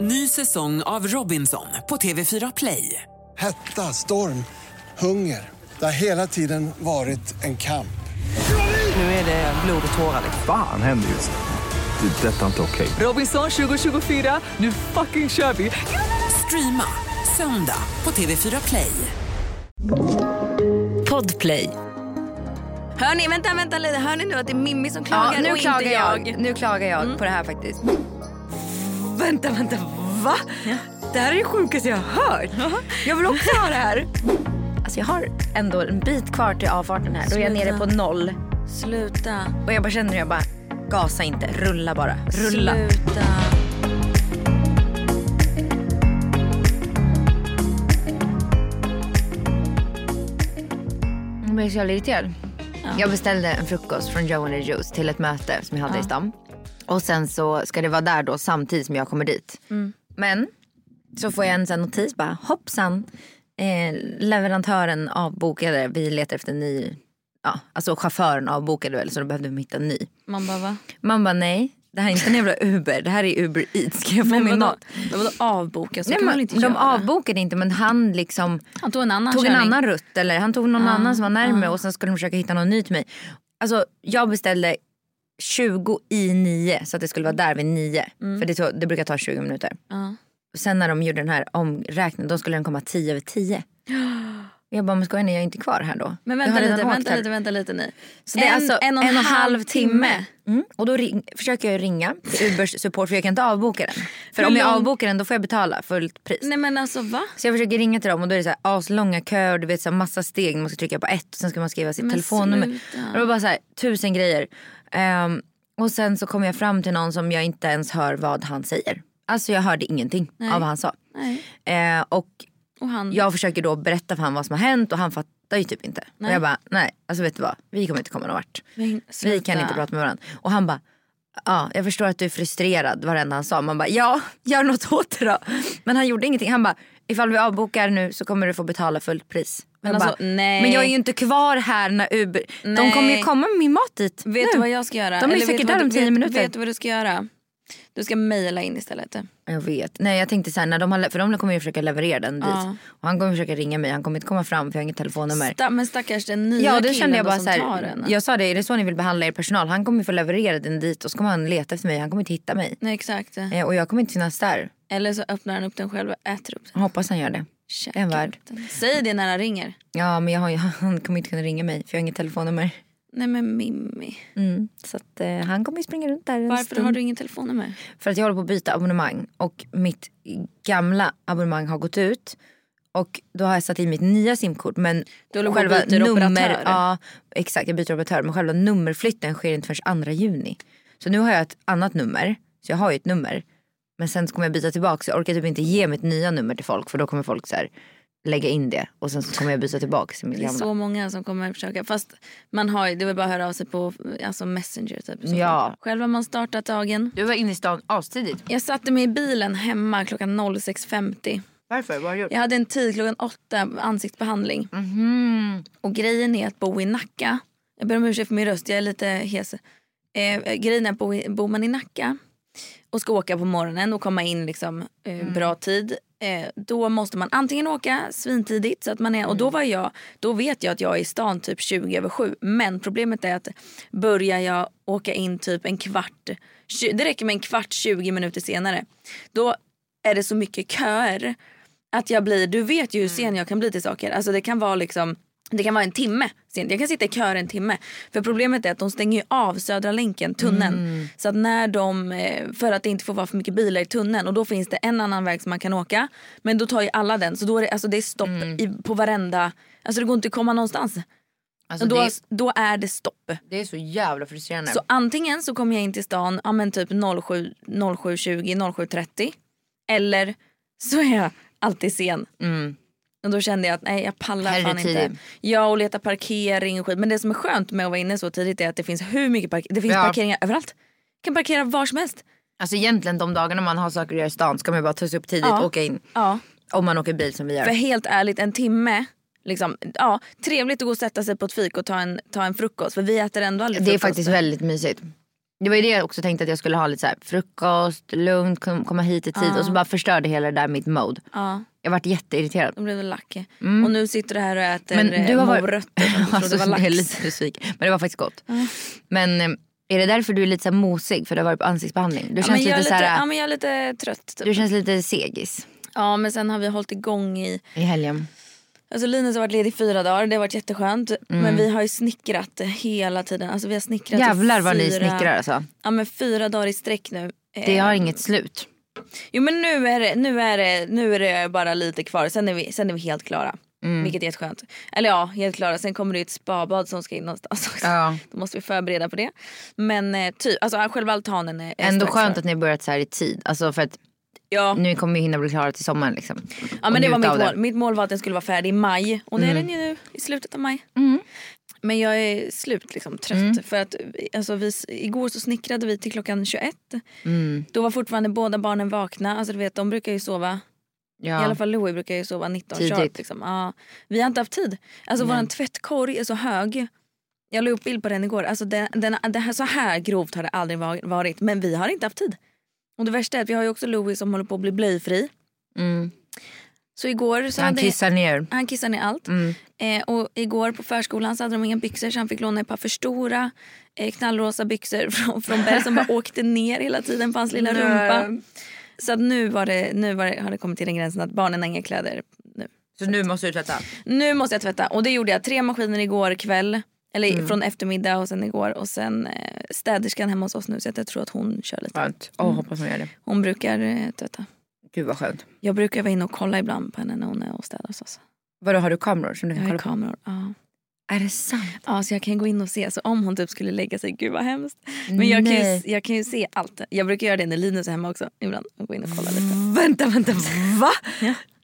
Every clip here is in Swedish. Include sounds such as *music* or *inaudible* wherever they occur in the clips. Ny säsong av Robinson på TV4 Play. Hetta, storm, hunger. Det har hela tiden varit en kamp. Nu är det blod och tårar. liksom. Fan händer just nu. Det. är Detta är inte okej. Robinson 2024, nu fucking kör vi! Streama söndag på TV4 Play. Podplay. Hör ni, vänta, vänta lite. Hör ni nu att det är Mimmi som klagar Ja, nu och klagar inte jag. jag. Nu klagar jag Mm. på det här faktiskt. Vänta, vänta, va? Det här är det sjukaste jag har hört. Jag vill också ha det här. Alltså jag har ändå en bit kvar till avfarten här. Då är jag nere på noll. Sluta, Och jag bara känner hur jag bara, gasa inte, rulla bara. Rulla. sluta. Jag blir så jävla irriterad. Jag beställde en frukost från Joe and the Juice till ett möte som jag hade i stan. Och sen så ska det vara där då samtidigt som jag kommer dit. Mm. Men så får jag en sån här notis bara hoppsan. Eh, leverantören avbokade, vi letar efter en ny, ja alltså chauffören avbokade väl så då behövde vi hitta en ny. Man bara va? Man bara nej, det här är inte en jävla Uber, det här är Uber Eats. Ska jag få min mat? Vadå avboka? Så Nej, kan man men, väl inte de göra? avbokade inte men han liksom Han tog en Ah, annan tog en körning. annan rutt eller han tog någon annan som var närmare och sen skulle de försöka hitta någon ny till mig. Alltså jag beställde 20 i 9 så att det skulle vara där vid 9 Mm. för det, tog, det brukar ta 20 minuter. Ja. Sen när de gjorde den här omräkningen då skulle den komma 10 *gasps* över 10. Jag bara men skojar ni jag är inte kvar här då. Men Jag vänta har redan lite, åkt vänta här. lite, vänta lite ni. Så det är alltså en och en, halv timme. timme. Mm. Och då ring, försöker jag ringa till Ubers support för jag kan inte avboka den. För Hur om jag lång- avbokar den då får jag betala fullt pris. Nej men alltså va? Så jag försöker ringa till dem och då är det så här aslånga köer och du vet så här massa steg. Man ska trycka på ett och sen ska man skriva sitt Men telefonnummer. sluta. Och det var bara så här tusen grejer. Ehm, och sen så kom jag fram till någon som jag inte ens hör vad han säger. Alltså jag hörde ingenting av vad han sa. Nej. Ehm, och Och han, jag försöker då berätta för honom vad som har hänt och han fattar ju typ inte. Och jag bara nej alltså vet du vad vi kommer inte komma någon vart. Men Vi sluta. kan inte prata med varandra. Och han bara, ja jag förstår att du är frustrerad varenda han sa. Man bara, ja gör något åt det då. Men han gjorde ingenting. Han bara, ifall vi avbokar nu så kommer du få betala fullt pris. Men, alltså, bara, nej. men jag är ju inte kvar här när Uber, de Nej. kommer ju komma med min mat dit Vet nu. du vad jag ska göra? De är Eller säkert vet du där vad om du- 10 vet- minuter. Vet du vad du ska göra? Du ska mejla in istället. Jag vet. Nej jag tänkte såhär, när de har, le- för de kommer ju försöka leverera den dit. Ja. Och han kommer försöka ringa mig, han kommer inte komma fram för jag har inget telefonnummer. Sta- men stackars den nya Ja det killen kände jag då bara som så tar här, den. jag sa det, är det så ni vill behandla er personal? Han kommer ju få leverera den dit och så kommer han leta efter mig, han kommer inte hitta mig. Nej exakt. Eh, Och jag kommer inte finnas där. Eller så öppnar han upp den själv och äter upp den. Jag hoppas han gör det. Käkar En värld. upp den. Säg det när han ringer. Ja men jag har, ju- *laughs* han kommer inte kunna ringa mig för jag har inget telefonnummer. Nej men Mimmi. Mm. Så att, eh, han kommer ju springa runt där en Varför stund. har du ingen telefonnummer? För att jag håller på att byta abonnemang och mitt gamla abonnemang har gått ut. Och då har jag satt in mitt nya simkort men Du håller på och byter operatör. Ja exakt jag byter operatör men själva nummerflytten sker inte förrän 2 juni. Så nu har jag ett annat nummer. Så jag har ju ett nummer. Men sen så kommer jag byta tillbaka så jag orkar typ inte ge mitt nya nummer till folk för då kommer folk så här lägga in det och sen så kommer jag byta tillbaka till mitt Det är gamla. så många som kommer försöka. Fast man har ju, det vill bara att höra av sig på alltså Messenger typ. Så. Ja. Själv har man startat dagen. Du var inne i stan astidigt. Jag satte mig i bilen hemma klockan 06.50. Varför? Vad har du gjort? Jag hade en tid klockan åtta ansiktsbehandling. Mhm. Och grejen är att bo i Nacka. Jag ber om ursäkt för min röst, jag är lite hes. Eh, grejen är att bo i, bor man i Nacka och ska åka på morgonen och komma in liksom, eh, bra tid. Eh, då måste man antingen åka svintidigt så att man är, och då var jag, då vet jag att jag är i stan typ 20 över 7. Men problemet är att börjar jag åka in typ en kvart, tju- det räcker med en kvart 20 minuter senare. Då är det så mycket köer att jag blir, du vet ju Mm. hur sen jag kan bli till saker. Alltså det kan vara liksom det kan vara en timme sent. Jag kan sitta i kör en timme. För problemet är att de stänger ju av Södra länken, tunneln. Mm. Så att när de, eh, för att det inte får vara för mycket bilar i tunneln och då finns det en annan väg som man kan åka. Men då tar ju alla den. Så då är det, alltså det är stopp i, på varenda, alltså det går inte att komma någonstans. Mm. Alltså, då, det, är, då är det stopp. det är så jävla frustrerande. Så antingen så kommer jag in till stan ja, men typ 07, 07.20, 07.30 eller så är jag alltid sen. Mm. Och då kände jag att nej jag pallar Här är fan det inte. tidigt. Ja och leta parkering och skit. Men det som är skönt med att vara inne så tidigt är att det finns hur mycket parkering, det finns Ja. parkeringar överallt. Jag kan parkera var som helst. Alltså egentligen de dagarna man har saker att göra i stan ska man ju bara ta sig upp tidigt Ja. och åka in. Ja. Om man åker bil som vi gör. För helt ärligt en timme, liksom, ja, trevligt att gå och sätta sig på ett fik och ta en, ta en frukost. För vi äter ändå aldrig det är frukost. faktiskt väldigt mysigt. Det var ju det jag också tänkte att jag skulle ha lite så här, frukost, lugnt, kom, komma hit i tid. Och så bara förstörde hela det där mitt mode. Ja, Jag vart jätteirriterad. de blev väl lack. Och nu sitter du här och äter Mm. eh, Men du har varit- morötter *laughs* som du trodde Alltså, var jag är lax. lite besviken. Men det var faktiskt gott. Men eh, är det därför du är lite så här mosig för du har varit på ansiktsbehandling? Du Ja, men känns jag, är lite, lite, så här, ja, men jag är lite trött. Typ. du känns lite segis Ja, men sen har vi hållit igång i... i helgen. Alltså Linus har varit ledig fyra dagar, det har varit jätteskönt. Mm. Men vi har ju snickrat hela tiden. Alltså vi har snickrat i Jävlar vad ni fyra- snickrar alltså. Ja men fyra dagar i sträck nu. Eh, Det har inget slut. Jo men nu är, det, nu, är det, nu är det bara lite kvar, sen är vi, sen är vi helt klara. Mm. Vilket är jätteskönt. Eller ja, helt klara. Sen kommer det ju ett spabad som ska in någonstans också. Ja. *laughs* Då måste vi förbereda på det. Men eh, typ, alltså själva altanen är är Ändå strax skönt klar. att ni har börjat så här i tid. Alltså för att Ja, nu kommer vi hinna bli klara till sommaren liksom. ja Och men det var njuta mitt av mål. Mm. Mitt mål var att den skulle vara färdig i maj. Och det är den ju nu, i slutet av maj. Men jag är slut liksom, trött. Mm. För att, alltså, vi, igår så snickrade vi till klockan 21. Mm. Då var fortfarande båda barnen vakna. Alltså, du vet, de brukar ju sova Ja. I alla fall Louis brukar ju sova 19 Tidigt. sharp. Liksom. Ja, vi har inte haft tid. Alltså vår tvättkorg är så hög. Jag la upp bild på den igår. Alltså den, den, det här, så här grovt har det aldrig va- varit. Men vi har inte haft tid. Och det värsta är att vi har ju också Louis som håller på att bli blöjfri. Mm. Så igår så Han hade kissar ner. han kissar ner allt. Mm. Eh, och igår på förskolan så hade de inga byxor så han fick låna ett par för stora eh, knallrosa byxor *laughs* från, från Bell som bara åkte ner hela tiden på hans lilla rumpa. Så att nu, var det, nu var det, har det kommit till den gränsen att barnen har inga kläder nu. Så nu måste du tvätta? Nu måste jag tvätta. Och det gjorde jag. Tre maskiner igår kväll. Eller Mm. från eftermiddag och sen igår. Och sen eh, städerskan hemma hos oss nu. Så att jag tror att hon kör lite. Skönt. Åh, hoppas hon gör det. Hon brukar eh, tvätta. Gud vad skönt. Jag brukar vara inne och kolla ibland på henne när hon är och städar hos oss. Vadå, har du kameror som du Jag kan har ju kolla på? kameror. Ja. Är det sant? ja, så Alltså, jag kan gå in och se. Så om hon typ skulle lägga sig, gud vad hemskt. Men jag kan, ju, Nej. jag kan ju se allt. Jag brukar göra det när Linus är hemma också. Ibland och gå in och kolla lite. Vänta, vänta, va?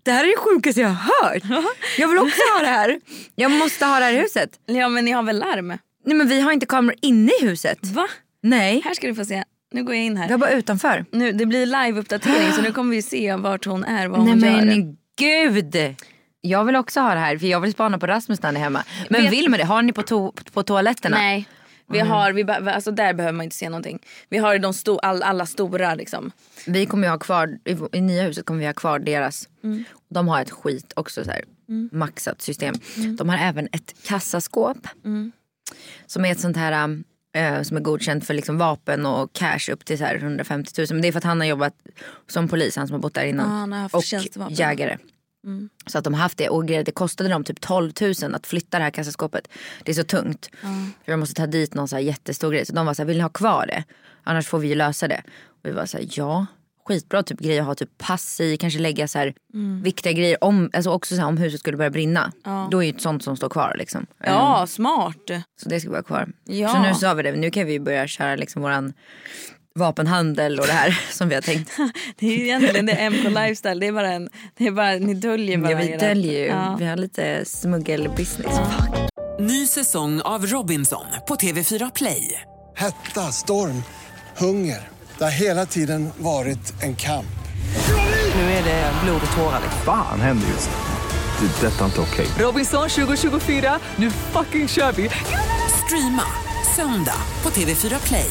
Det här är det sjukaste jag har hört. Jag vill också ha det här. Jag måste ha det här i huset. Ja men ni har väl larm? Nej men vi har inte kameror inne i huset. Va? Nej. Här ska du få se. Nu går jag in Vi här. har bara utanför. Nu, det blir live-uppdatering så nu kommer vi se vart hon är, vad Nej hon gör. men gud. Jag vill också ha det här för jag vill spana på Rasmus när han är hemma. Men Vet- vill man det? Har ni på, to- på toaletterna? Nej. Vi Mm. har, vi, be- alltså där behöver man inte se någonting. Vi har de sto, all, alla stora liksom. Vi kommer ju ha kvar, i, v- i nya huset kommer vi ha kvar deras. Mm. De har ett skit också så här, maxat system. Mm. De har även ett kassaskåp. Som är ett sånt här eh, som är godkänt för liksom vapen och cash upp till så här 150 000. Men det är för att han har jobbat som polis, han som har bott där innan. Ja, Ah, han har haft och tjänstevapen. jägare. Så att de har haft det och grejer, det kostade dem typ 12 000 att flytta det här kassaskåpet. Det är så tungt. För de måste ta dit någon så här jättestor grej. Så de var så här, vill ni ha kvar det? Annars får vi ju lösa det. Och vi var så här, ja. Skitbra typ grej att ha typ pass i, kanske lägga så här viktiga grejer. Om, alltså också så här, om huset skulle börja brinna. Då är ju ett sånt som står kvar liksom. Ja, smart. Så det ska vara kvar. Ja. Så nu sa vi det, nu kan vi ju börja köra liksom våran vapenhandel och det här *laughs* som vi har tänkt. *laughs* Det är ju egentligen det är MK Lifestyle. Det är bara en, det är bara, ni döljer bara Ja, vi era- döljer ju, Ja. vi har lite smuggelbusiness. Fuck. Ny säsong av Robinson på TV4 Play. Hetta, storm, hunger. Det har hela tiden varit en kamp. Nu är det blod och tårar. liksom. Fan händer just nu. Det. är Detta är inte okej. Robinson 2024, nu fucking kör vi! Streama söndag på TV4 Play.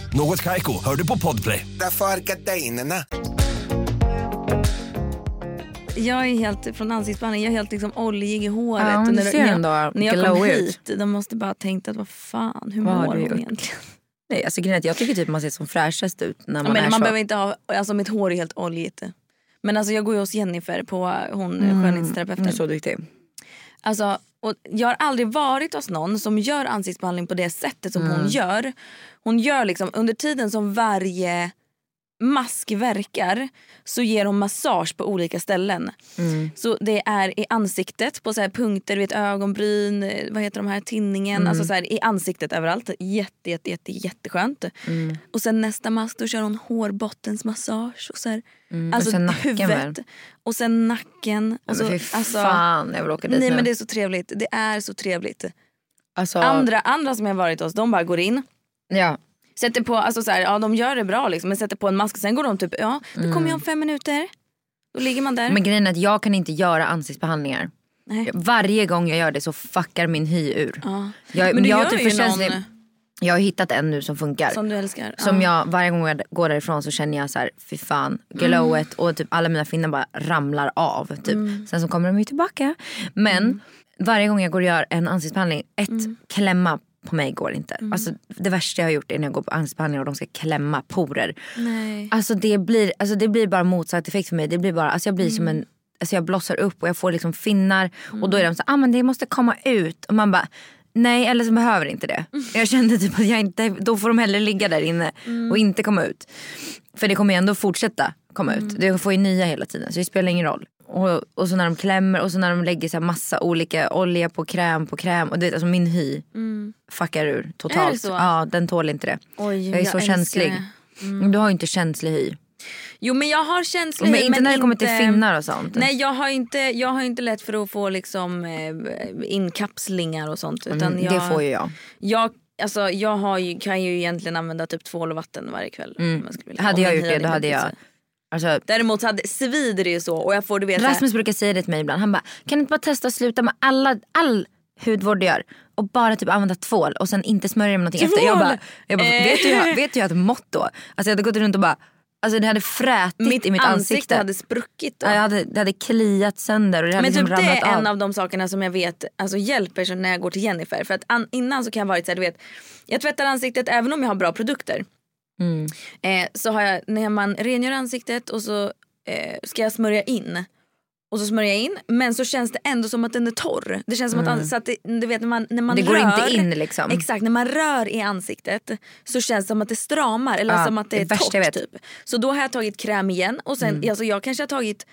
Något Kaiko, hör du på Podplay. Därför är gardinerna. Jag är helt från ansiktsbehandling, jag är helt liksom oljig i håret. Ja, men Och du ser jag, ändå när jag kom glowy ut. hit, de måste bara ha tänkt att vad fan, hur Vad har mår du hon gjort? egentligen? Nej, alltså, grejen är att jag tycker typ man ser som fräschast ut när man Man, är men man så. behöver inte ha, alltså mitt hår är helt oljigt. Men alltså jag går ju hos Jennifer, på hon Mm, skönhetsterapeuten. Hon är så duktig. Alltså, och jag har aldrig varit hos någon som gör Mm. ansiktsbehandling på det sättet som hon gör. Hon gör liksom under tiden som varje maskverkar så ger de massage på olika ställen. Mm. Så det är i ansiktet, på så här punkter, du vet, ögonbryn, eh, vad heter de här, tinningen. Mm. Alltså så här, I ansiktet överallt. Jätte, jätte, jätte, jätteskönt. Mm. Och sen nästa mask då kör hon hårbottensmassage. Och så här, Alltså Mm. sen nacken, huvudet. väl? Och sen nacken. Alltså, Fy fan, jag vill åka dit nej nu. men det är så trevligt. Det är så trevligt. alltså, Andra, andra som jag varit hos, de bara går in. ja. Sätter på, alltså så här, ja de gör det bra liksom, men sätter på en mask. Sen går de typ, ja nu kommer jag om fem minuter. Då ligger man där. Mm. Men grejen är att jag kan inte göra ansiktsbehandlingar. Nej. Varje gång jag gör det så fuckar min hy ur. ja. Jag, men du jag har gör typ ju förkänslig- någon Jag har hittat en nu som funkar. som du älskar. Som ja. jag, varje gång jag går därifrån så känner jag så här, fy fan, Mm. glowet och typ alla mina finnar bara ramlar av. Typ. Sen så kommer de ju tillbaka. Men Mm. varje gång jag går och gör en ansiktsbehandling, ett, klämma på mig går inte. Mm. Alltså, det värsta jag har gjort är när jag går på ansiktsbehandling och de ska klämma porer. Nej. Alltså, det blir, alltså det blir bara motsatt effekt för mig. Det blir bara, alltså jag blir som Mm. en Alltså jag blossar upp och jag får liksom finnar och då är de så ah men det måste komma ut och man bara nej eller så behöver inte det. Mm. Jag kände typ att jag inte, då får de hellre ligga där inne Mm. och inte komma ut. För det kommer ju ändå fortsätta komma Mm. ut. Det får ju nya hela tiden så det spelar ingen roll. Och, och så när de klämmer och så när de lägger så här massa olika olja på kräm på kräm och det, alltså min hy fuckar ur totalt. Mm. Är det så? Ja den tål inte det. Oj, jag är så älskar känslig. det. Mm. Du har ju inte känslig hy. Jo men jag har känslig Men hy, inte när det kommer till inte- finnar och sånt. Nej jag har, inte, jag har inte lätt för att få liksom eh, inkapslingar och sånt. Utan Mm, jag, Det får ju jag. Jag, alltså, jag har ju, kan ju egentligen använda typ tvål och vatten varje kväll. om jag skulle vilja. Mm. Hade Om jag min gjort hy det då hade skjutit jag... sig. Alltså, Däremot så hade, svider det ju så och jag får du vet så här- Rasmus brukar säga det till mig ibland. Han bara, kan du inte bara testa att sluta med alla, all hudvård du gör och bara typ använda tvål och sen inte smörja dig med någonting efter. Jag bara, jag bara Eh. vet, du, hur- vet du hur jag hade mått då? Alltså jag hade gått runt och bara, alltså det hade frätit mitt, i mitt ansikte. hade spruckit. Då. Ja, jag hade, det hade kliat sönder och det hade men liksom typ det ramlat är en av. av de sakerna som jag vet alltså, hjälper så när jag går till Jennifer. För att an, innan så kan jag vara så här, du vet, jag tvättar ansiktet även om jag har bra produkter. Mm. Eh, så har jag, när man rengör ansiktet och så eh, ska jag smörja in. Och så smörjer jag in men så känns det ändå som att den är torr. Det känns som att, ans- så att det, du vet när man, när man Mm. Det rör. går inte in, liksom. Exakt, när man rör i ansiktet så känns det som att det stramar eller Ja, som att det det är värsta torrt. jag vet. Mm. Typ. Så då har jag tagit kräm igen och sen, alltså, jag kanske har tagit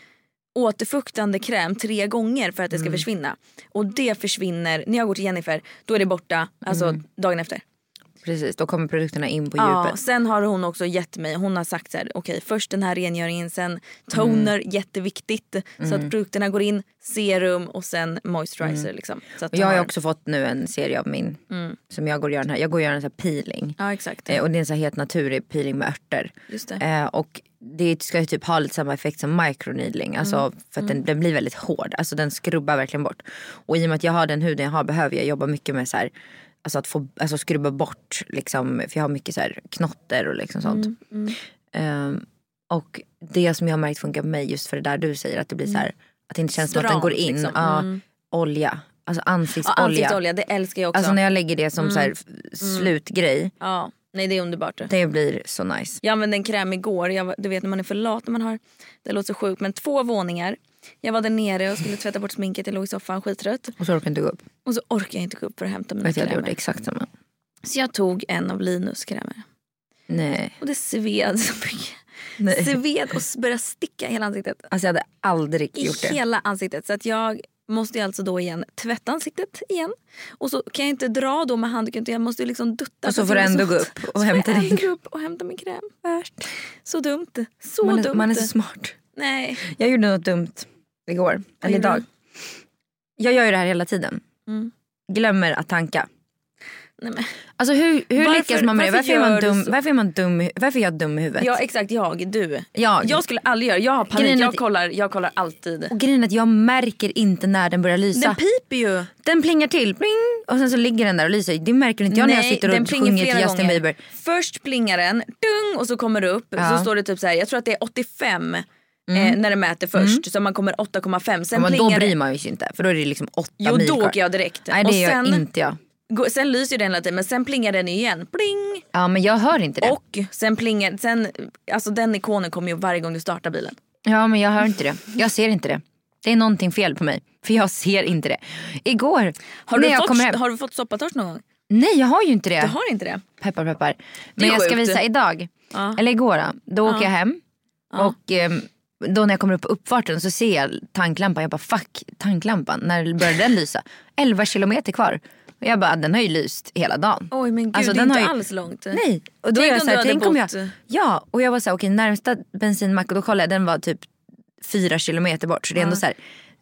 återfuktande kräm tre gånger för att det ska Mm. försvinna. Och det försvinner, när jag går till Jennifer, då är det borta alltså, dagen efter. Precis, då kommer produkterna in på Ja, Mm. djupet. sen har hon också gett mig, hon har sagt så här, okej först den här rengöringen, sen toner, Mm. jätteviktigt. Så att produkterna går in, serum och sen moisturizer. Liksom, så att Mm. Och jag har de ju har- också fått nu en serie av min som jag går och gör den här. Jag går och gör en sån här peeling. Ja exakt. Eh, Och det är en sån här helt naturlig peeling med örter. Just det. Eh, och det ska ju typ ha lite samma effekt som microneedling. Alltså Mm. för att den, den blir väldigt hård. Alltså den skrubbar verkligen bort. Och i och med att jag har den huden jag har behöver jag jobba mycket med så här, alltså att få, alltså skrubba bort liksom. För jag har mycket så här knotter och liksom sånt. Mm, Eh, och det som jag har märkt funkar på mig just för det där du säger. Att det blir så här, att det inte känns som att den Stramt, går in. liksom. Ja, Olja, alltså ja, ansiktsolja. ansiktsolja, det älskar jag också. Mm. Alltså när jag lägger det som så här, f- slutgrej. ja. Nej det är underbart. Det blir så nice. Jag använde en kräm igår. Jag, var- du vet när man är för lat. När man har, det låter så sjukt men två våningar. Jag var där nere och skulle tvätta bort sminket. Jag låg i soffan skittrött. Och så orkar inte gå upp. Och så orkade jag inte gå upp för att hämta mina Vet jag, jag gjorde krämer. exakt samma. Mm. Så jag tog en av Linus krämer. Nej. Och det sved så mycket. *laughs* Nej. Sved och började sticka i hela ansiktet. Alltså jag hade aldrig I gjort det. hela ansiktet. Så att jag måste ju alltså då igen tvätta ansiktet igen. Och så kan jag inte dra då med handduken utan jag måste ju liksom dutta. Och så för att får det du gör ändå så gå ont. upp och Så får hämta jag din ändå kräm. gå upp och hämta min kräm. Värst. Så dumt. Så Man är, dumt. man är så smart. Nej. Jag gjorde något dumt igår. Eller gjorde idag. Jag gör ju det här hela tiden. Mm. Glömmer att tanka. Nej, men. Alltså hur, hur Varför- lyckas man med det? varför Varför är man, gör du dum, så? varför är man dum? i- Varför är jag dum i huvudet? Ja exakt, jag, du. Jag. Jag skulle aldrig göra jag har Grejen panik. är Jag att- kollar, jag kollar alltid. Och grejen är att jag märker inte när den börjar lysa. Den piper ju. Den plingar till, pling! Och sen så ligger den där och lyser. Det märker inte jag när jag sitter den och plingar sjunger till flera Justin gånger. Bieber. Först plingar den, dung, och så kommer det upp. Ja. Mm. Så står det typ så här, jag tror att det är 85 eh, när det mäter först. Så man kommer 8,5. Sen Men då plingar bryr det. man sig inte för då är det liksom åtta Jo mil då kvar. åker jag direkt. Nej det och gör sen, inte jag. gå- sen lyser den hela tiden men sen plingar den igen. Pling! Ja men jag hör inte det. Och sen plingar, sen, alltså den ikonen kommer ju varje gång du startar bilen. Ja men jag hör inte det. Jag ser inte det. Det är någonting fel på mig. För jag ser inte det. Igår Har, du när jag fått, kommer hem. Äh. har du fått soppatorsk någon gång? Nej jag har ju inte det. Du har inte det? Peppar peppar. är Men jag ska sjukt. visa idag. Ja. Eller igår då. Då åker jag hem. Ja. Och ehm, då när jag kommer upp på uppfarten så ser jag tanklampan. Jag bara fuck tanklampan. När började den lysa? *laughs* 11 kilometer kvar. Och jag bara den har ju lyst hela dagen. Oj men gud, Alltså, det är den inte har ju- alls långt. Nej. Och då Tänk är jag om så du här, hade tänk om jag... bott- Ja och jag var så här okej närmsta bensinmack och då kollade jag den var typ fyra kilometer bort. Så det är ändå så här.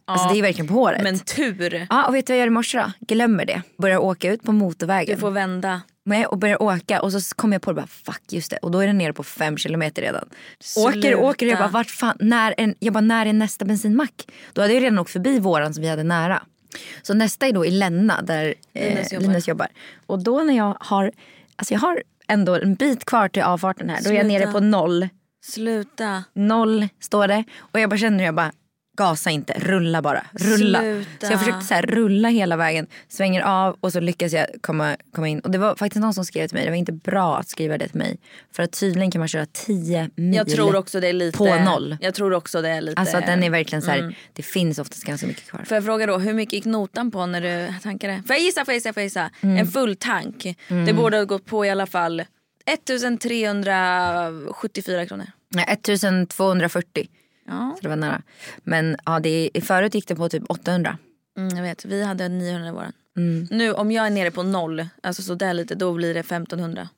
Alltså Ja. det är verkligen på håret. Men tur. Ja, och vet du vad jag gör i morse då? Glömmer det. Börjar åka ut på Du motorvägen. får vända. Nej, och börjar åka och så kommer jag på det bara fuck just det. Och då är den nere på fem kilometer redan. Åker Sluta. och åker och jag bara vart fan, när är, jag bara, när är nästa bensinmack? Då hade jag redan åkt förbi våran som vi hade nära. Så nästa är då i Länna där eh, Linus, Linus jobbar. jobbar. Och då när jag har, alltså jag har ändå en bit kvar till avfarten här. Då är jag Sluta. nere på noll. Sluta. Noll står det. Och jag bara känner hur jag bara gasa inte, rulla bara. Rulla. Sluta. Så jag försökte så här rulla hela vägen, svänger av och så lyckas jag komma, komma in. Och det var faktiskt någon som skrev till mig, det var inte bra att skriva det till mig. För att tydligen kan man köra 10 mil. Jag tror också det är lite... På noll. Jag tror också det är Mm. lite... Alltså att den är verkligen så här, det finns oftast ganska mycket kvar. Får jag fråga då, hur mycket gick notan på när du tankade? Får jag gissa, får jag gissa, får jag gissa? Mm. En full tank. Det borde ha gått på i alla fall 1374 kronor. Nej, 1240. Ja, Så det var nära. Men ja, det, förut gick det på typ 800. mm, jag vet. Vi hade 900 i våran. Mm. Nu om jag är nere på noll, alltså så där lite, då blir det 1500.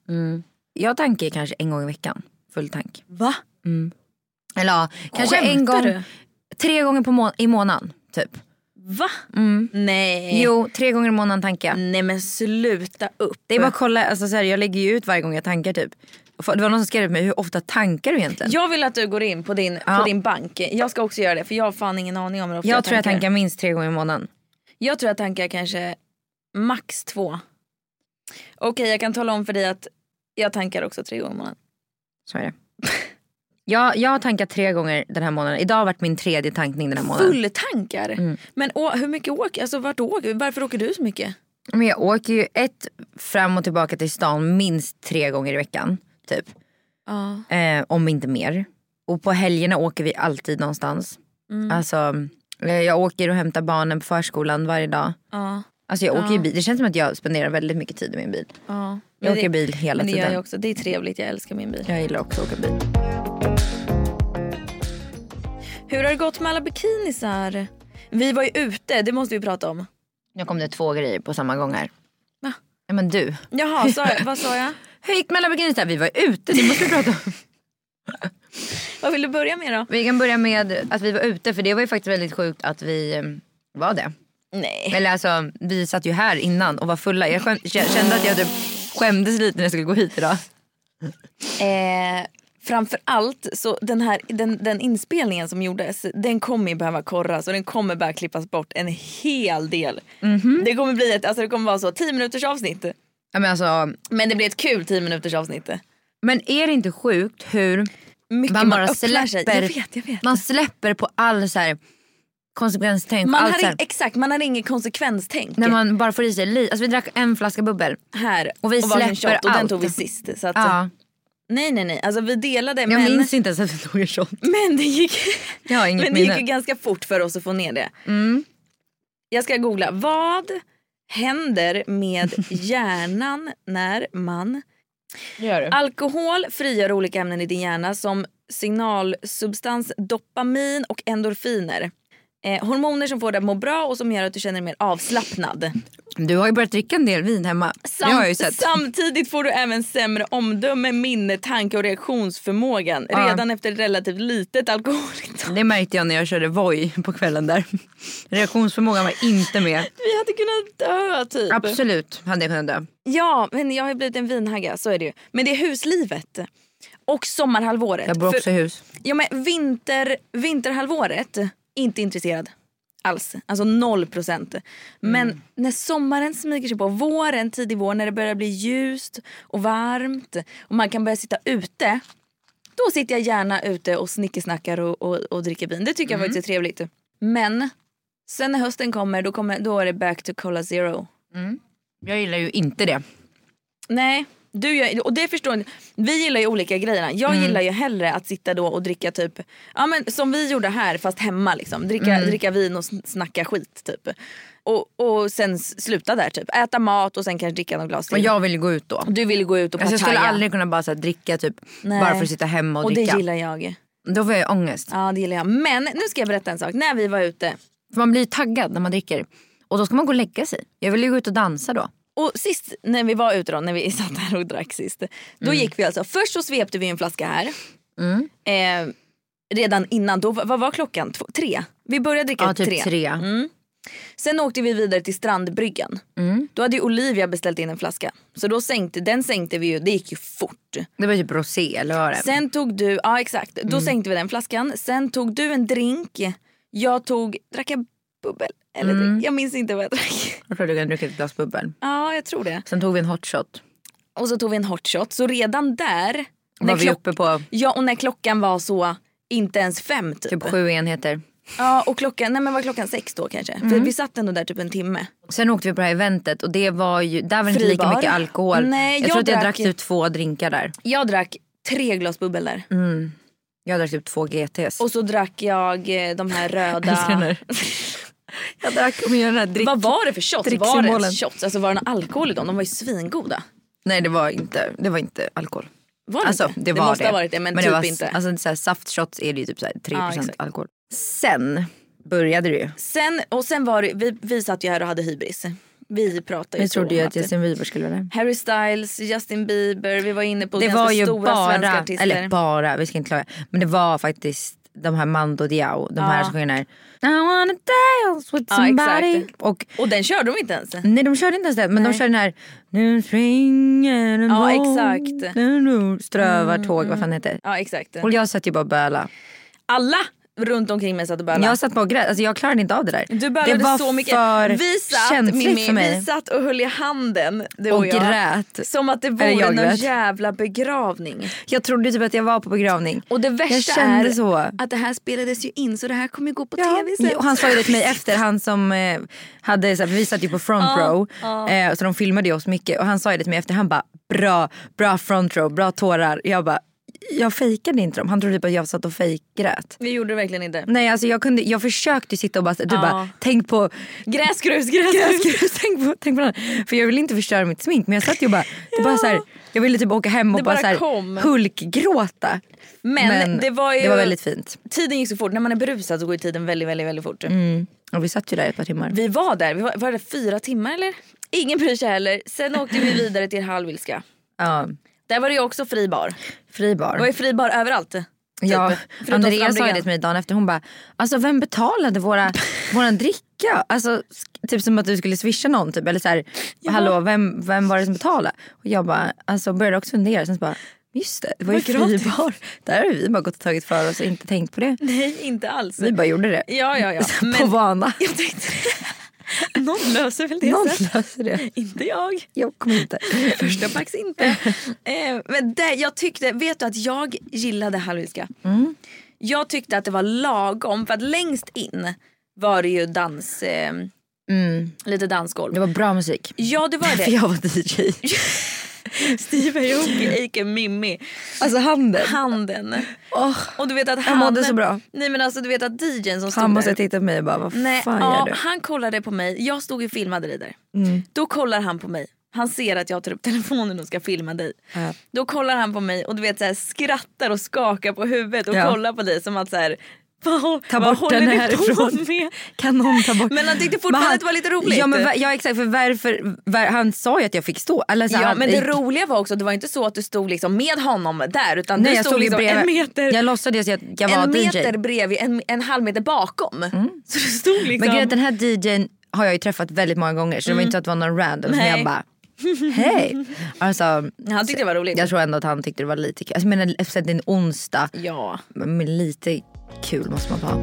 Jag tankar kanske en gång i veckan, full tank. Va? Eller ja, kanske en Skämtar gång, du? tre gånger på må- i månaden typ. Va? Nej. Mm. Jo, tre gånger i månaden tankar jag. Nej men sluta upp. Mm. Det är bara att kolla, alltså, så här, jag lägger ju ut varje gång jag tankar typ. För- Det var någon som skrev till mig, hur ofta tankar du egentligen? Jag vill att du går in på din, Ja. på din bank. Jag ska också göra det för jag har fan ingen aning om hur ofta Jag, tror jag tankar minst tre gånger i månaden. Jag tror jag tankar kanske max två. Okej jag kan tala om för dig att jag tankar också tre gånger i månaden. Så är det. *laughs* Jag, jag har tankat tre gånger den här månaden. Idag har varit min tredje tankning den här månaden. Mm. Fulltankar? Men å, hur mycket åker, alltså vart åker, varför åker du så mycket? Men jag åker ju ett fram och tillbaka till stan minst tre gånger i veckan. Typ. Ja. Eh, om inte mer. Och på helgerna åker vi alltid någonstans. Alltså, eh, jag åker och hämtar barnen på förskolan varje dag. ja, Alltså jag åker ju bil. Det känns som att jag spenderar väldigt mycket tid i min bil. ja. Jag Men åker det- bil hela men det gör tiden. jag också, det är trevligt, jag älskar min bil. Jag gillar också att åka bil. Hur har det gått med alla bikinisar? Vi var ju ute, det måste vi prata om. Nu kom det två grejer på samma gång här. Va? Ja, men du. Jaha, sa jag, vad sa *laughs* jag? Hur gick mellan bikinis där? Vi var ute, det måste vi *laughs* prata om. Vad vill du börja med då? Vi kan börja med att vi var ute för det var ju faktiskt väldigt sjukt att vi eh, var det. Nej. Eller alltså vi satt ju här innan och var fulla. Jag skäm- kä- kände att jag typ skämdes lite när jag skulle gå hit idag. Eh, framför allt så den här den, den inspelningen som gjordes den kommer ju behöva korras och den kommer behöva klippas bort en hel del. Mhm. Det kommer bli ett, alltså det kommer vara så 10 minuters avsnitt. Ja, men, alltså, Men det blir ett kul 10 minuters avsnitt. men är det inte sjukt hur Mycket man bara öppnar släpper, sig. Jag vet, jag vet. Man, Man släpper på all så här, konsekvenstänk. man allt har så ing, här, exakt, man har inget konsekvenstänk. när man bara får i sig lite. Alltså, vi drack en flaska bubbel. här Och vi varsin släpper shot, och den allt. tog vi sist. Så att, eh, Ja, Nej nej nej, alltså vi delade jag men, minns inte ens att vi tog en shot. *laughs* men det gick, Jag har *laughs* inget men det gick minne. Mm. ju ganska fort för oss att få ner det. Jag ska googla. Vad händer med *laughs* hjärnan när man... Alkohol frigör olika ämnen i din hjärna som signalsubstans dopamin och endorfiner. Eh, hormoner som får dig att må bra och som gör att du känner dig mer avslappnad. Du har ju börjat dricka en del vin hemma. det har jag ju sett. Samtidigt får du även sämre omdöme, minne, tanke och reaktionsförmågan Ja. redan efter ett relativt litet alkoholintag. Det märkte jag när jag körde Voi på kvällen där. Reaktionsförmågan var inte med. Vi hade kunnat dö typ. Absolut hade jag kunnat dö. Ja, men jag har ju blivit en vinhagga, så är det ju. Men det är huslivet. Och sommarhalvåret. Jag bor också i hus. ja, men vinter, vinterhalvåret, inte intresserad alls. Alltså noll procent. Men när sommaren smyger sig på, våren, tidig vår, när det börjar bli ljust och varmt och man kan börja sitta ute. Då sitter jag gärna ute och snickesnackar och, och, och dricker vin. Det tycker jag faktiskt är trevligt. Men sen när hösten kommer, då, kommer, då är det back to Cola Zero. Jag gillar ju inte det. Nej, Du gör, och det förstår ni. Vi gillar ju olika grejerna. Jag Mm. gillar ju hellre att sitta då och dricka typ, ja men som vi gjorde här fast hemma liksom. Dricka, Mm. dricka vin och sn- snacka skit typ. Och, och sen s- sluta där typ. Äta mat och sen kanske dricka något glas Och till. jag vill ju gå ut då. Du ville gå ut och Alltså, jag skulle partaja. aldrig kunna bara så här, dricka typ Nej. bara för att sitta hemma och, Och det dricka. gillar jag. Då får jag ju ångest. Ja det gillar jag. Men nu ska jag berätta en sak. När vi var ute För man blir ju taggad när man dricker. Och då ska man gå och lägga sig. Jag vill ju gå ut och dansa då. Och sist när vi var ute då, när vi *laughs* satt här och drack sist. Då Mm. gick vi alltså, först så svepte vi en flaska här. Eh, redan innan, då, vad var klockan? Två, tre? Vi började dricka Ja, typ tre. Sen åkte vi vidare till strandbryggan. Mm. Då hade ju Olivia beställt in en flaska. Så då sänkte, den sänkte vi ju, det gick ju fort. Det var typ rosé eller vad var det? Sen tog du, ja exakt, då Mm. sänkte vi den flaskan. Sen tog du en drink. Jag tog, drack jag bubbel? Eller Mm. drink? Jag minns inte vad jag drack. *laughs* Jag tror du kan dricka ett glas bubbel. Ja, jag tror det. Sen tog vi en hot shot. Och så tog vi en hot shot. Så redan där. Var vi klock- uppe på Ja och när klockan var så inte ens fem typ. typ sju enheter. Ja och klockan, nej men var klockan sex då kanske? Mm. För vi satt ändå där typ en timme. Sen åkte vi på det här eventet och det var ju, där var det inte lika Fribar. mycket alkohol. Nej, jag jag tror att jag drack drack ju- typ två drinkar där. Jag drack tre glas bubbel där. Mm. Jag drack typ två GTs. Och så drack jag eh, de *laughs* här Älskar *laughs* den röda. här. jag drack och jag den här drick... Vad var det för shots? Var det Dricksymbolen. ens shots? Alltså var det någon alkohol i dem? De var ju svingoda. Nej det var inte, det var inte alkohol. Var det Alltså, inte? det, var måste det. ha varit det men, det typ var, inte. Alltså, så här, saftshots är det ju typ så här 3% Ja, exakt. alkohol. Sen började det ju. Sen, och sen var det, vi, vi satt ju här och hade hybris. Vi pratade ju Vi så trodde ju om att Justin Bieber skulle vara där. Harry Styles, Justin Bieber, vi var inne på Det ganska var ju stora svenska bara, artister. eller bara, vi ska inte klaga. Men det var faktiskt de här Mando Diao, de här Ja. som sjunger den här, I wanna dance with Ja, somebody. exakt. och Och den körde de inte ens. Nej de körde inte ens det men de Nej. körde den här Nu springer en Ja, båt, exakt. Mm. nu, nu, Strövar tåg, vad fan heter det? Ja exakt. Och jag satt ju bara och böla. Alla runt omkring mig satt och bölade. Jag satt bara och grät, alltså jag klarade inte av det där. Du bölade det var så mycket. för vi satt, känsligt Mimmi, för mig. Vi satt och höll i handen du Och och, jag. grät. Som att det Eller jag vore någon grät. jävla begravning. Jag trodde typ att jag var på begravning. Och det värsta jag kände är så. att det här spelades ju in så det här kommer ju gå på tv sen. Ja, och han sa ju det *laughs* till mig efter, han som eh, hade så här, för vi satt ju på front row eh, så de filmade ju oss mycket och han sa ju det till mig efter, han bara bra, bra front row, bra tårar. Jag bara, jag fejkade inte dem, han trodde typ att jag satt och fejkgrät. Vi gjorde det verkligen inte. Nej alltså jag, kunde, jag försökte sitta och bara, du bara tänk på *laughs* Gräs, grus, gräs, grus. gräsgrus, tänk på, tänk på något. För jag ville inte förstöra mitt smink men jag satt ju och bara, det bara så här, jag ville typ åka hem och Det bara, bara så kom. här, hulkgråta. Men det var ju- det var väldigt fint. Tiden gick så fort, när man är berusad så går ju tiden väldigt väldigt väldigt fort. Och vi satt ju där i ett par timmar. Vi var där, vi var, var där fyra timmar eller? Ingen bryr sig heller. Sen åkte vi vidare till Hallwylska. Ja, Där var det ju också fri bar. Det fri var bar. ju fri bar överallt. typ. Ja, Förutom Andrea sa ju strandbryggan. det till mig dagen efter, hon bara, alltså vem *laughs* betalade våra, våran dricka? Alltså sk- typ som att du skulle swisha någon typ eller så här, hallå vem, vem var det som betalade? Och jag bara, alltså började också fundera sen så bara, just det, det var ju Det var fri gratis. bar. Där har vi bara gått och tagit för oss och inte tänkt på det. Nej inte alls. Vi bara gjorde det. Ja ja ja. *laughs* På vana. jag tänkte Någon löser väl det Någon sen. löser det. Inte jag. Jag kommer inte. Första pax inte. eh, men det, jag tyckte, vet du att jag gillade Hallwylska? Jag tyckte att det var lagom för att längst in var det ju dans, eh, lite dansgolv. Det var bra musik. Ja det *laughs* var För det. jag var DJ. *laughs* Steve Aoki, Ike Mimmi, Alltså handen. handen. Åh, Och du vet att han, mådde så bra. Nej men alltså du vet att DJn som stod han måste där. ha tittat på mig och bara vad Nej, fan ja, gör du? han kollade på mig. Jag stod och filmade dig där. Mm. Då kollar han på mig. Han ser att jag tar upp telefonen och ska filma dig. Ja. Då kollar han på mig och du vet så här, skrattar och skakar på huvudet och Ja. kollar på dig som att så här, vad, Ta vad bort den håller du på härifrån. med? Kan någon ta bort? Men han tyckte fortfarande Men att det var lite roligt. Ja, men, va- ja exakt för varför, var, han sa ju att jag fick stå. Eller, så Ja han, men det eh, roliga var också att det var inte så att du stod liksom med honom där utan Nej, du jag stod stod ju liksom bredvid. en meter, Jag låtsades ju att jag var en DJ. Mm. meter bredvid, en, en halv meter bakom. *laughs* Så du stod liksom... Mm. Men grejen är att den här DJn har jag ju träffat väldigt många gånger så det var inte så att det var någon random. Så Nej. jag bara *laughs* hej. Alltså, han tyckte det var roligt. jag tror ändå att han tyckte det var lite kul. Alltså, men eftersom det är en onsdag, Ja. men lite kul måste man få ha.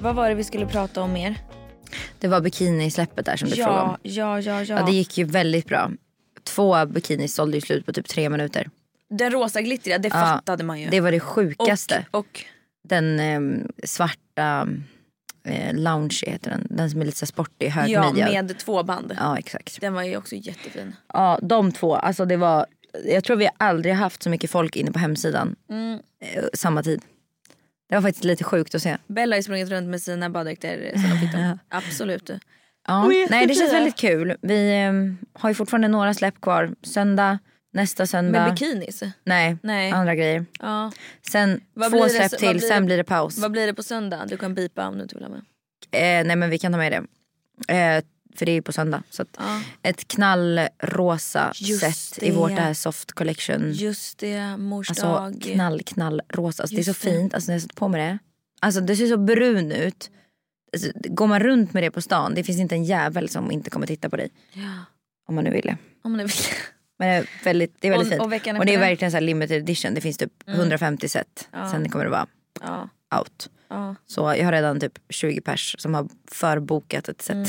Vad var det vi skulle prata om mer? Det var bikinisläppet där som du frågade om. Ja, ja, ja, ja. Ja, det gick ju väldigt bra. Två bikinis sålde ju slut på typ tre minuter. Den rosa glittriga, det Ja, fattade man ju. Det var det sjukaste. och, och Den eh, svarta eh, lounge heter den. Den som är lite så här sportig, ja, högmidjad. med två band. ja, exakt. Den var ju också jättefin. Ja, de två. Alltså det var, jag tror vi aldrig haft så mycket folk inne på hemsidan Mm. eh, samma tid. Det var faktiskt lite sjukt att se. Bella har ju sprungit runt med sina baddräkter som de fick *laughs* dem. Absolut. Ja. Och jättefina. Nej, det känns väldigt kul. Vi eh, har ju fortfarande några släpp kvar. Söndag, nästa söndag. Med bikinis. Nej, Nej. andra grejer. Ja. Sen Vad blir två det- släpp vad till, blir sen det- blir det paus. Vad blir det på söndag? Du kan bipa om du inte vill ha med. Eh, nej men vi kan ta med det. Eh, för det är ju på söndag. Så att Ja. Ett knallrosa Just set i det. vårt det här soft collection. Just det, mors Alltså dag. knall, knall rosa. Alltså, det är så Just det. fint. Alltså, när jag satt på med det. Alltså, det ser så brun ut. Alltså, går man runt med det på stan, det finns inte en jävel som inte kommer titta på dig. Ja. Om man nu ville. Om ni vill. *laughs* Men det är väldigt, det är väldigt Och- fint. och veckan det är efter? Mm. verkligen så här limited edition. Det finns typ 150 set. Sen kommer det vara Ja. out. Ja. Så jag har redan typ 20 pers som har förbokat ett Mm,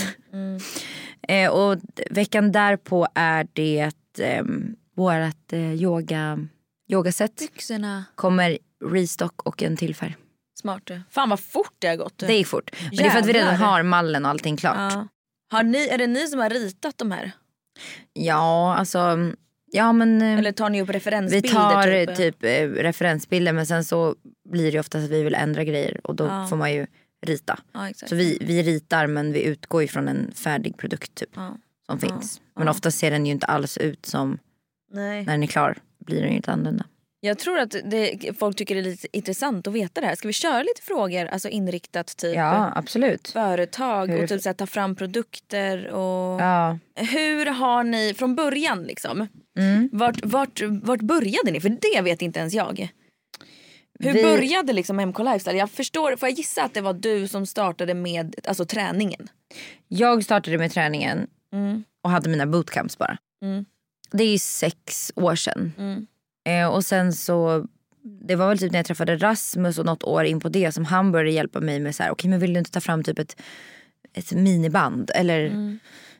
set. *laughs* eh, och d- veckan därpå är det ehm, vårt eh, yoga, yogaset. Byxorna. Kommer restock och en till färg. Smart. du. Fan vad fort det har gått. du. Det gick fort. Men det är för att vi redan Jävlar. har mallen och allting klart. Ja, ja. har ni, är det ni som har ritat de här? alltså. Ja men. eh, Eller tar ni upp vi referensbilder? tar typ, typ eh, referensbilder men sen så blir det oftast att vi vill ändra grejer och då Ja. får man ju rita. Ja, exakt. Så vi, vi ritar men vi utgår ju från en färdig produkt typ. Ja. Som finns. Men ofta ser den ju inte alls ut som Nej. när den är klar. Blir den ju inte annorlunda. Jag tror att det, folk tycker det är lite intressant att veta det här. Ska vi köra lite frågor alltså inriktat typ Ja absolut. företag Hur- och typ så här, ta fram produkter och Ja. hur har ni från början liksom? Mm. Vart, vart, vart började ni? För det vet inte ens jag. Hur Vi- började liksom MK Lifestyle? Jag förstår, får jag gissa att det var du som startade med alltså, träningen? Jag startade med träningen Mm. och hade mina bootcamps bara. Det är ju sex år sedan. Mm. Eh, och sen så, det var väl typ när jag träffade Rasmus och något år in på det som han började hjälpa mig med så här, okej men vill du inte ta fram typ ett, ett miniband eller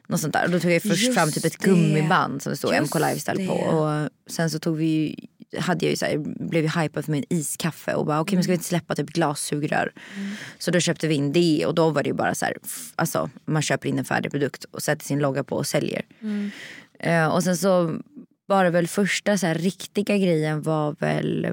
något sånt där. Och då tog jag först Mm. Just fram typ ett det. gummiband som det stod Just MK Lifestyle på. det. Och sen så tog vi ju, hade jag ju så här, blev ju hypad för min iskaffe och bara okej Mm. men ska vi inte släppa typ glassugrör. Så då köpte vi in det och då var det ju bara så här, f- alltså man köper in en färdig produkt och sätter sin logga på och säljer. Mm. Eh, och sen så var det väl första så här, riktiga grejen var väl,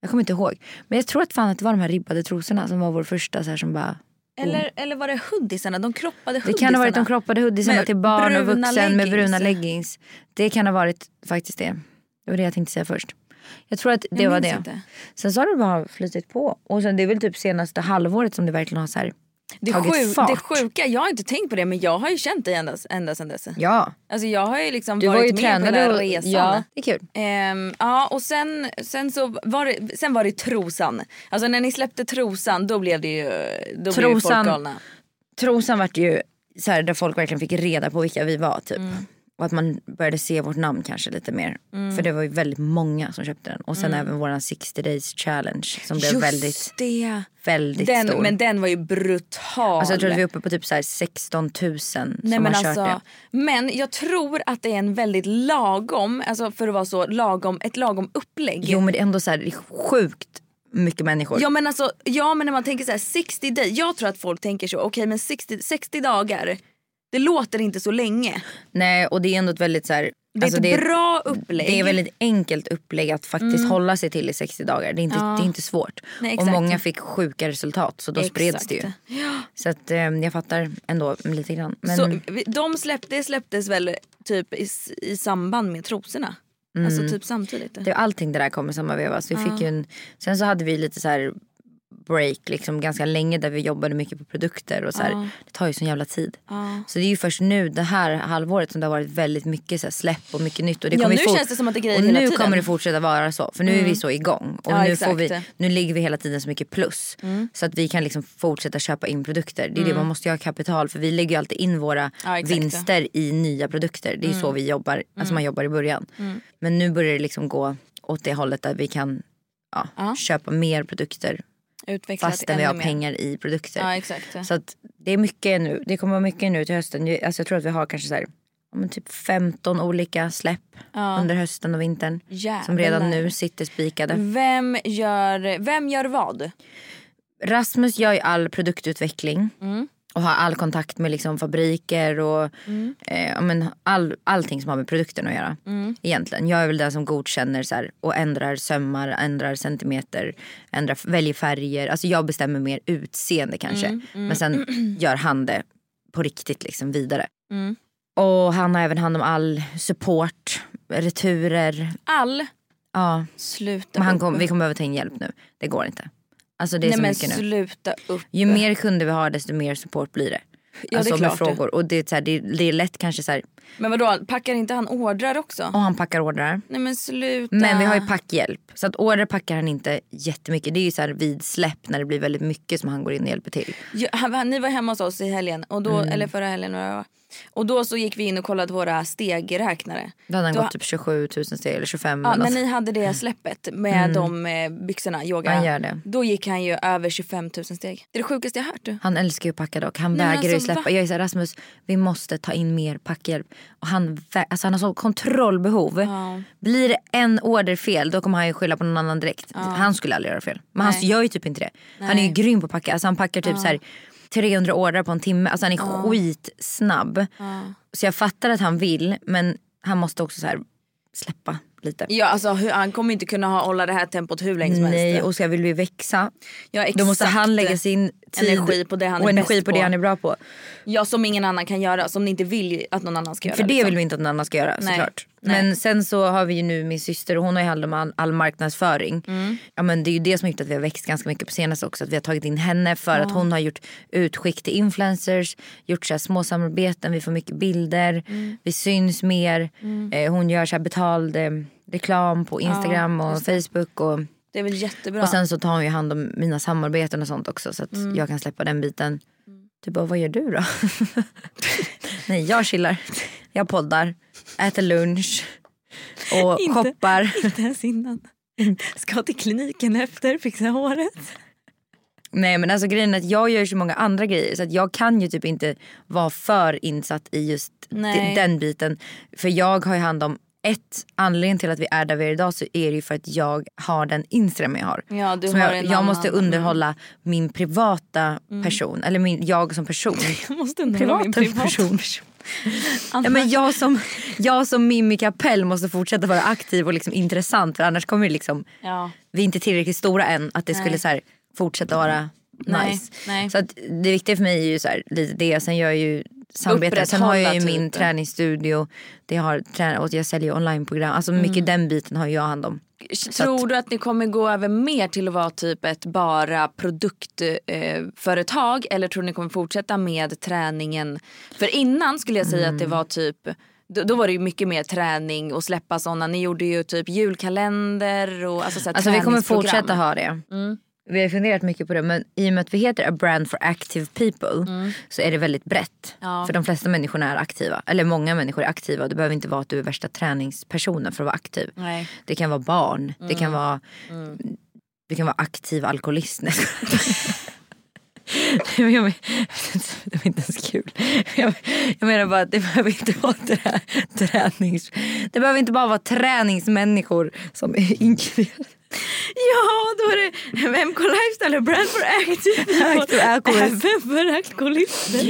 jag kommer inte ihåg. Men jag tror att fan att det var de här ribbade trosorna som var vår första så här, som bara Eller, eller var det hoodiesarna? De kroppade Oh. det hoodiesarna? kan ha varit de kroppade hoodiesarna Med till barn och bruna vuxen med bruna leggings. leggings. Det kan ha varit faktiskt det. Det var det jag tänkte säga först. Jag tror att det Jag var minns det. inte. Sen så har det bara flutit på. Och sen det är väl typ senaste halvåret som det verkligen har så här Det, tagit sju, fart. det sjuka, jag har inte tänkt på det men jag har ju känt dig ända, ända sedan dess. Ja, Alltså jag har ju liksom du varit var ju med på den tränare här och resan. ja, det är kul. Ehm, ja och sen, sen så var det, sen var det trosan. Alltså när ni släppte trosan då blev det ju, då blev ju Trosan. folk galna. Trosan vart ju så här där folk verkligen fick reda på vilka vi var Mm. typ. Och att man började se vårt namn kanske lite mer. Mm. För det var ju väldigt många som köpte den. Och sen även våran 60 days challenge som blev Just väldigt, det. väldigt Den, stor. men den var ju brutal. Alltså jag tror att vi är uppe på typ så här 16 000 som Nej, men, har kört alltså, det. men jag tror att det är en väldigt lagom, alltså för att vara så lagom, ett lagom upplägg. Jo men det är ändå så här, det är sjukt mycket människor. Ja men alltså, ja men när man tänker så här 60 days, jag tror att folk tänker så, okej men 60, 60 dagar, det låter inte så länge. Nej och det är ändå ett väldigt så här, Det är alltså, ett det, är, bra upplägg. Mm. det är väldigt enkelt upplägg att faktiskt hålla sig till i 60 dagar. Det är inte, det är inte svårt. Nej, och exakt. många fick sjuka resultat så då spreds Exakt. det ju. Så att eh, jag fattar ändå lite grann. Men Så vi- de släpp, det släpptes väl typ i, s- i samband med trosorna? Mm. Alltså typ samtidigt? det, allting det där kom i samma veva. Så vi fick ju en, sen så hade vi lite så här break liksom ganska länge där vi jobbade mycket på produkter och så här. Det tar ju sån jävla tid. Så det är ju först nu det här halvåret som det har varit väldigt mycket så här släpp och mycket nytt. Och det Ja, kommer nu ju fort- känns det som att det är grejer Och hela nu tiden. Mm. kommer det fortsätta vara så. För nu är vi så igång. Och Ja, nu, får exakt. vi, nu ligger vi hela tiden så mycket plus. Mm. Så att vi kan liksom fortsätta köpa in produkter. Det är det man måste ju ha kapital för vi lägger ju alltid in våra Ja, exakt. Mm. vinster i nya produkter. Det är ju så vi jobbar, alltså man jobbar i början. Men nu börjar det liksom gå åt det hållet där vi kan ja, köpa mer produkter Utvecklat fastän vi ännu har mer. pengar i produkter. Ja, exakt. Så att det är mycket nu. Det kommer vara mycket nu till hösten. Jag- Alltså jag tror att vi har kanske så här, ja, men typ 15 olika släpp under hösten och vintern. Som redan Jävlar. nu sitter spikade. Vem gör, vem gör vad? Rasmus gör ju all produktutveckling. Mm. Och har all kontakt med liksom fabriker och Mm. eh, ja, men all, allting som har med produkten att göra. Egentligen. Jag är väl den som godkänner så här, och ändrar sömmar, ändrar centimeter, ändrar, väljer färger. Alltså jag bestämmer mer utseende kanske. Mm, Men sen *clears throat* gör han det på riktigt liksom vidare. Mm. Och han har även hand om all support, returer. All? Ja, Sluta men han upp. kom, vi kommer behöva ta in hjälp nu. Det går inte. Alltså det är Nej så men mycket nu. sluta upp. Ju mer kunder vi har desto mer support blir det. det är alltså klart. med frågor. Och det är, så här, det, är, det är lätt kanske så här, Men vadå, packar inte han ordrar också? och han packar ordrar. Nej men sluta. Men vi har ju packhjälp. Så att ordrar packar han inte jättemycket. Det är ju så här vid släpp när det blir väldigt mycket som han går in och hjälper till. Ja, han- han- Ni var hemma hos oss i helgen, och då, Mm. eller förra helgen. vad det var. Och då så gick vi in och kollade våra stegräknare. Då hade han Då- gått typ alltså- 27 000 steg eller 25 Ja, eller när något. ni hade det släppet med de eh, byxorna, yoga. Han Mm. gör det. Då gick han ju över 25 000 steg. Det är det sjukaste jag hört du. Han älskar ju att packa dock. Han Nej, men vägrar ju alltså, släppa. va? Jag är såhär Rasmus, vi måste ta in mer packhjälp. Och han, vä- alltså, han har sånt kontrollbehov. Blir det en order fel då kommer han ju skylla på någon annan direkt. Han skulle aldrig göra fel. Men han Nej. gör ju typ inte det. Han är ju grym på att packa. Alltså, han packar typ så här 300 ordrar på en timme. Alltså han är skitsnabb. Så jag fattar att han vill men han måste också så här släppa lite. Ja, alltså, hur, han kommer inte kunna ha, hålla det här tempot hur länge som Nej, helst. och så vill vi växa. Ja, Då måste exakt. han lägga sin tid Energi på det han är och energi bäst på det på. han är bra på. Ja, som ingen annan kan göra, som ni inte vill att någon annan ska göra. För det liksom. vill vi inte att någon annan ska göra Nej, såklart. nej. Men sen så har vi ju nu min syster och hon har ju hand om all, all marknadsföring. Mm. Ja, men det är ju det som har gjort att vi har växt ganska mycket på senaste också. Att vi har tagit in henne för att hon har gjort utskick till influencers, gjort så här små samarbeten, vi får mycket bilder, Mm. vi syns mer. Eh, hon gör så här betald eh, reklam på Instagram och Facebook. Och, Det är väl jättebra. Mm. *laughs* och sen så tar hon ju hand om mina samarbeten och sånt också så att jag kan släppa den biten. Du bara, vad gör du då? *laughs* Nej, jag chillar. Jag poddar, äter lunch och Inte- shoppar. Inte ens innan. Ska till kliniken efter, fixa håret. Nej men alltså grejen är att jag gör ju så många andra grejer så att jag kan ju typ inte vara för insatt i just de- Nej. den biten. För jag har ju hand om ett, anledningen till att vi är där vi är idag så är det ju för att jag har den Instagram jag har. Ja, du Som har jag, en jag måste annan. Mm. underhålla min privata person, eller min, jag *laughs* som person. Måste Privata person. *laughs* Ja, men jag, som, jag som Mimmi Kapell måste fortsätta vara aktiv och liksom intressant för annars kommer det liksom, Ja. vi är inte tillräckligt stora än att det skulle Nej. så här, fortsätta vara Nej, nice. nej. Så att det viktiga för mig är ju så här, lite det, sen gör jag ju samarbeten. Sen har jag ju Upprätthålla min typ. träningsstudio, det har, trä- och jag säljer onlineprogram. Alltså Mm. mycket den biten har jag hand om. Tror du att ni kommer gå över mer till att vara typ ett bara produktföretag eh, företag, eller tror du ni kommer fortsätta med träningen? För innan skulle jag säga att Mm. det var typ då, då var det ju mycket mer träning och släppa sådana. Ni gjorde ju typ julkalender och alltså, så här Alltså vi kommer träningsprogram. Mm. fortsätta ha det. Vi har funderat mycket på det men i och med att vi heter A Brand for Active People Mm. så är det väldigt brett. För de flesta människor är aktiva. Eller många människor är aktiva och det behöver inte vara att du är värsta träningspersonen för att vara aktiv. Nej. Mm. Det kan vara barn, det kan vara det kan vara aktiv alkoholist. *laughs* Nej, jag skojar. Nej, men *laughs* jag men- det var inte ens kul. Jag, jag menar bara att det behöver inte vara trä, tränings... Det behöver inte bara vara träningsmänniskor som är inkluderade. Ja, då är det MK Lifestyle eller Brand for Active. Active Alcoholist. Även för alkoholister.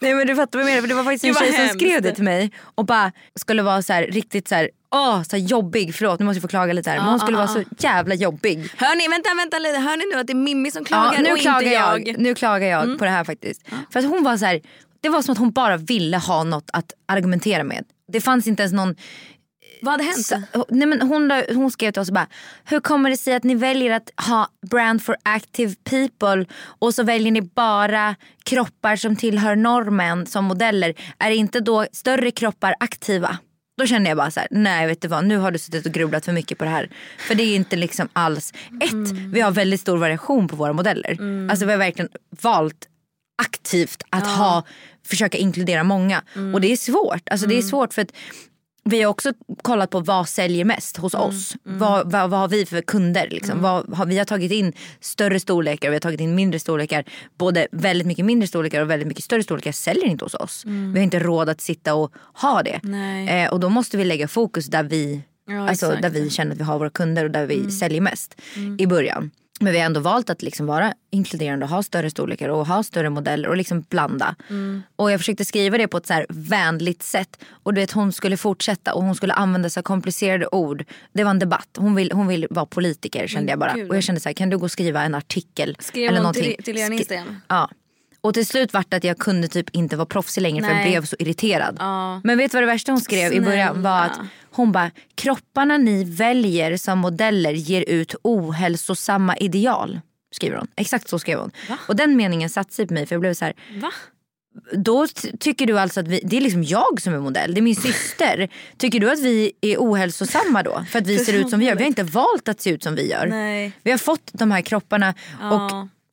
Nej men du fattar vad jag menar för det var faktiskt en Gud, vad tjej som hemskt. skrev det till mig och bara skulle vara så här, riktigt så här, åh så här jobbig, förlåt nu måste jag få klaga lite här men hon skulle vara så jävla jobbig. Hörni, vänta, vänta lite. Hör ni nu att det är Mimmi som klagar nu och klagar inte jag? Mm. jag. Nu klagar jag på det här faktiskt. För att hon var så här, det var som att hon bara ville ha något att argumentera med. Det fanns inte ens någon Vad hade hänt? Så, nej men hon, la- hon skrev till oss och bara, hur kommer det sig att ni väljer att ha brand for active people och så väljer ni bara kroppar som tillhör normen som modeller. Är inte då större kroppar aktiva? Då kände jag bara så här, nej vet du vad nu har du suttit och grubblat för mycket på det här. För det är inte liksom alls, ett, Mm. vi har väldigt stor variation på våra modeller. Alltså vi har verkligen valt aktivt att ha, försöka inkludera många. Mm. Och det är svårt. Alltså det är svårt för att vi har också kollat på vad säljer mest hos Mm. oss. Vad, vad, vad har vi för kunder? Liksom? Vad, har, vi har tagit in större storlekar och vi har tagit in mindre storlekar. Både väldigt mycket mindre storlekar och väldigt mycket större storlekar säljer inte hos oss. Vi har inte råd att sitta och ha det. Mm. Nej. Eh, och då måste vi lägga fokus där vi, Ja, alltså, exakt. där vi känner att vi har våra kunder och där Mm. vi säljer mest i början. Men vi har ändå valt att liksom vara inkluderande och ha större storlekar och ha större modeller och liksom blanda. Mm. Och jag försökte skriva det på ett så här vänligt sätt. Och du vet hon skulle fortsätta och hon skulle använda så här komplicerade ord. Det var en debatt. Hon vill, hon vill vara politiker kände jag bara. gud. Och jag kände så här kan du gå och skriva en artikel. Mm, Skrev eller hon till- någonting. till er en Skri- Instagram? Ja. Och till slut vart det att jag kunde typ inte vara proffsig längre för jag Nej. blev så irriterad. Men vet du vad det värsta hon skrev i början var att Snälla. hon bara, kropparna ni väljer som modeller ger ut ohälsosamma ideal. Skriver hon. Exakt så skrev hon. Och den meningen satte sig på mig för jag blev så här, Va? då t- tycker du alltså att vi, det är liksom jag som är modell, *laughs* det är min syster. Tycker du att vi är ohälsosamma då? För att vi ser ut som vi gör. Vi har inte valt att se ut som vi gör. Nej. Vi har fått de här kropparna och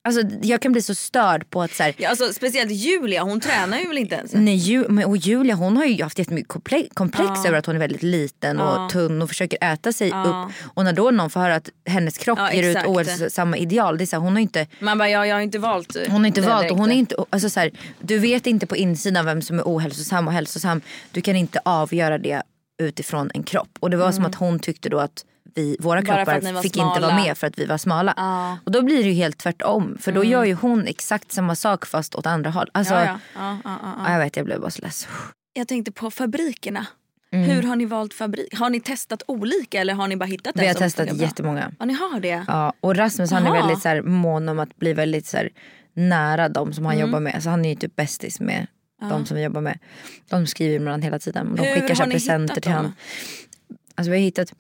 Ja. alltså, jag kan bli så störd på att så här, Ja, alltså, speciellt Julia, hon tränar ju väl inte ens? Nej, Ju- men- och Julia hon har ju haft jättemycket komple- komplex över att hon är väldigt liten och tunn och försöker äta sig upp. Och när då någon får höra att hennes kropp Ja, ger ut exakt. ohälsosamma ideal, det är så här, hon har inte, Man bara, ja, jag har inte valt. eh, hon har inte det valt. Och direkt. hon är inte, alltså så här, du vet inte på insidan vem som är ohälsosam och hälsosam. Du kan inte avgöra det utifrån en kropp. Och det var som att hon tyckte då att vi, våra Mm. Bara för att ni kroppar var fick inte vara smala. med för att vi var smala. Och då blir det ju helt tvärtom. För då gör ju hon exakt samma sak fast åt andra håll. Alltså, Mm. Ja, ja. Ja, ja, ja, ja. Jag vet, jag blev bara så less. Jag tänkte på fabrikerna. Mm. Hur har ni valt fabrik? Har ni testat olika eller har ni bara hittat en Vi har som testat funkar bra? jättemånga. Ja, ni har det? Ja, och Rasmus han är Jaha. väldigt så här, mån om att bli väldigt så här, nära de som han Mm. jobbar med. Så han är ju typ bästis med de som vi jobbar med. De skriver med varandra hela tiden. De Hur skickar så har här ni presenter hittat till dem? honom. Alltså vi har hittat,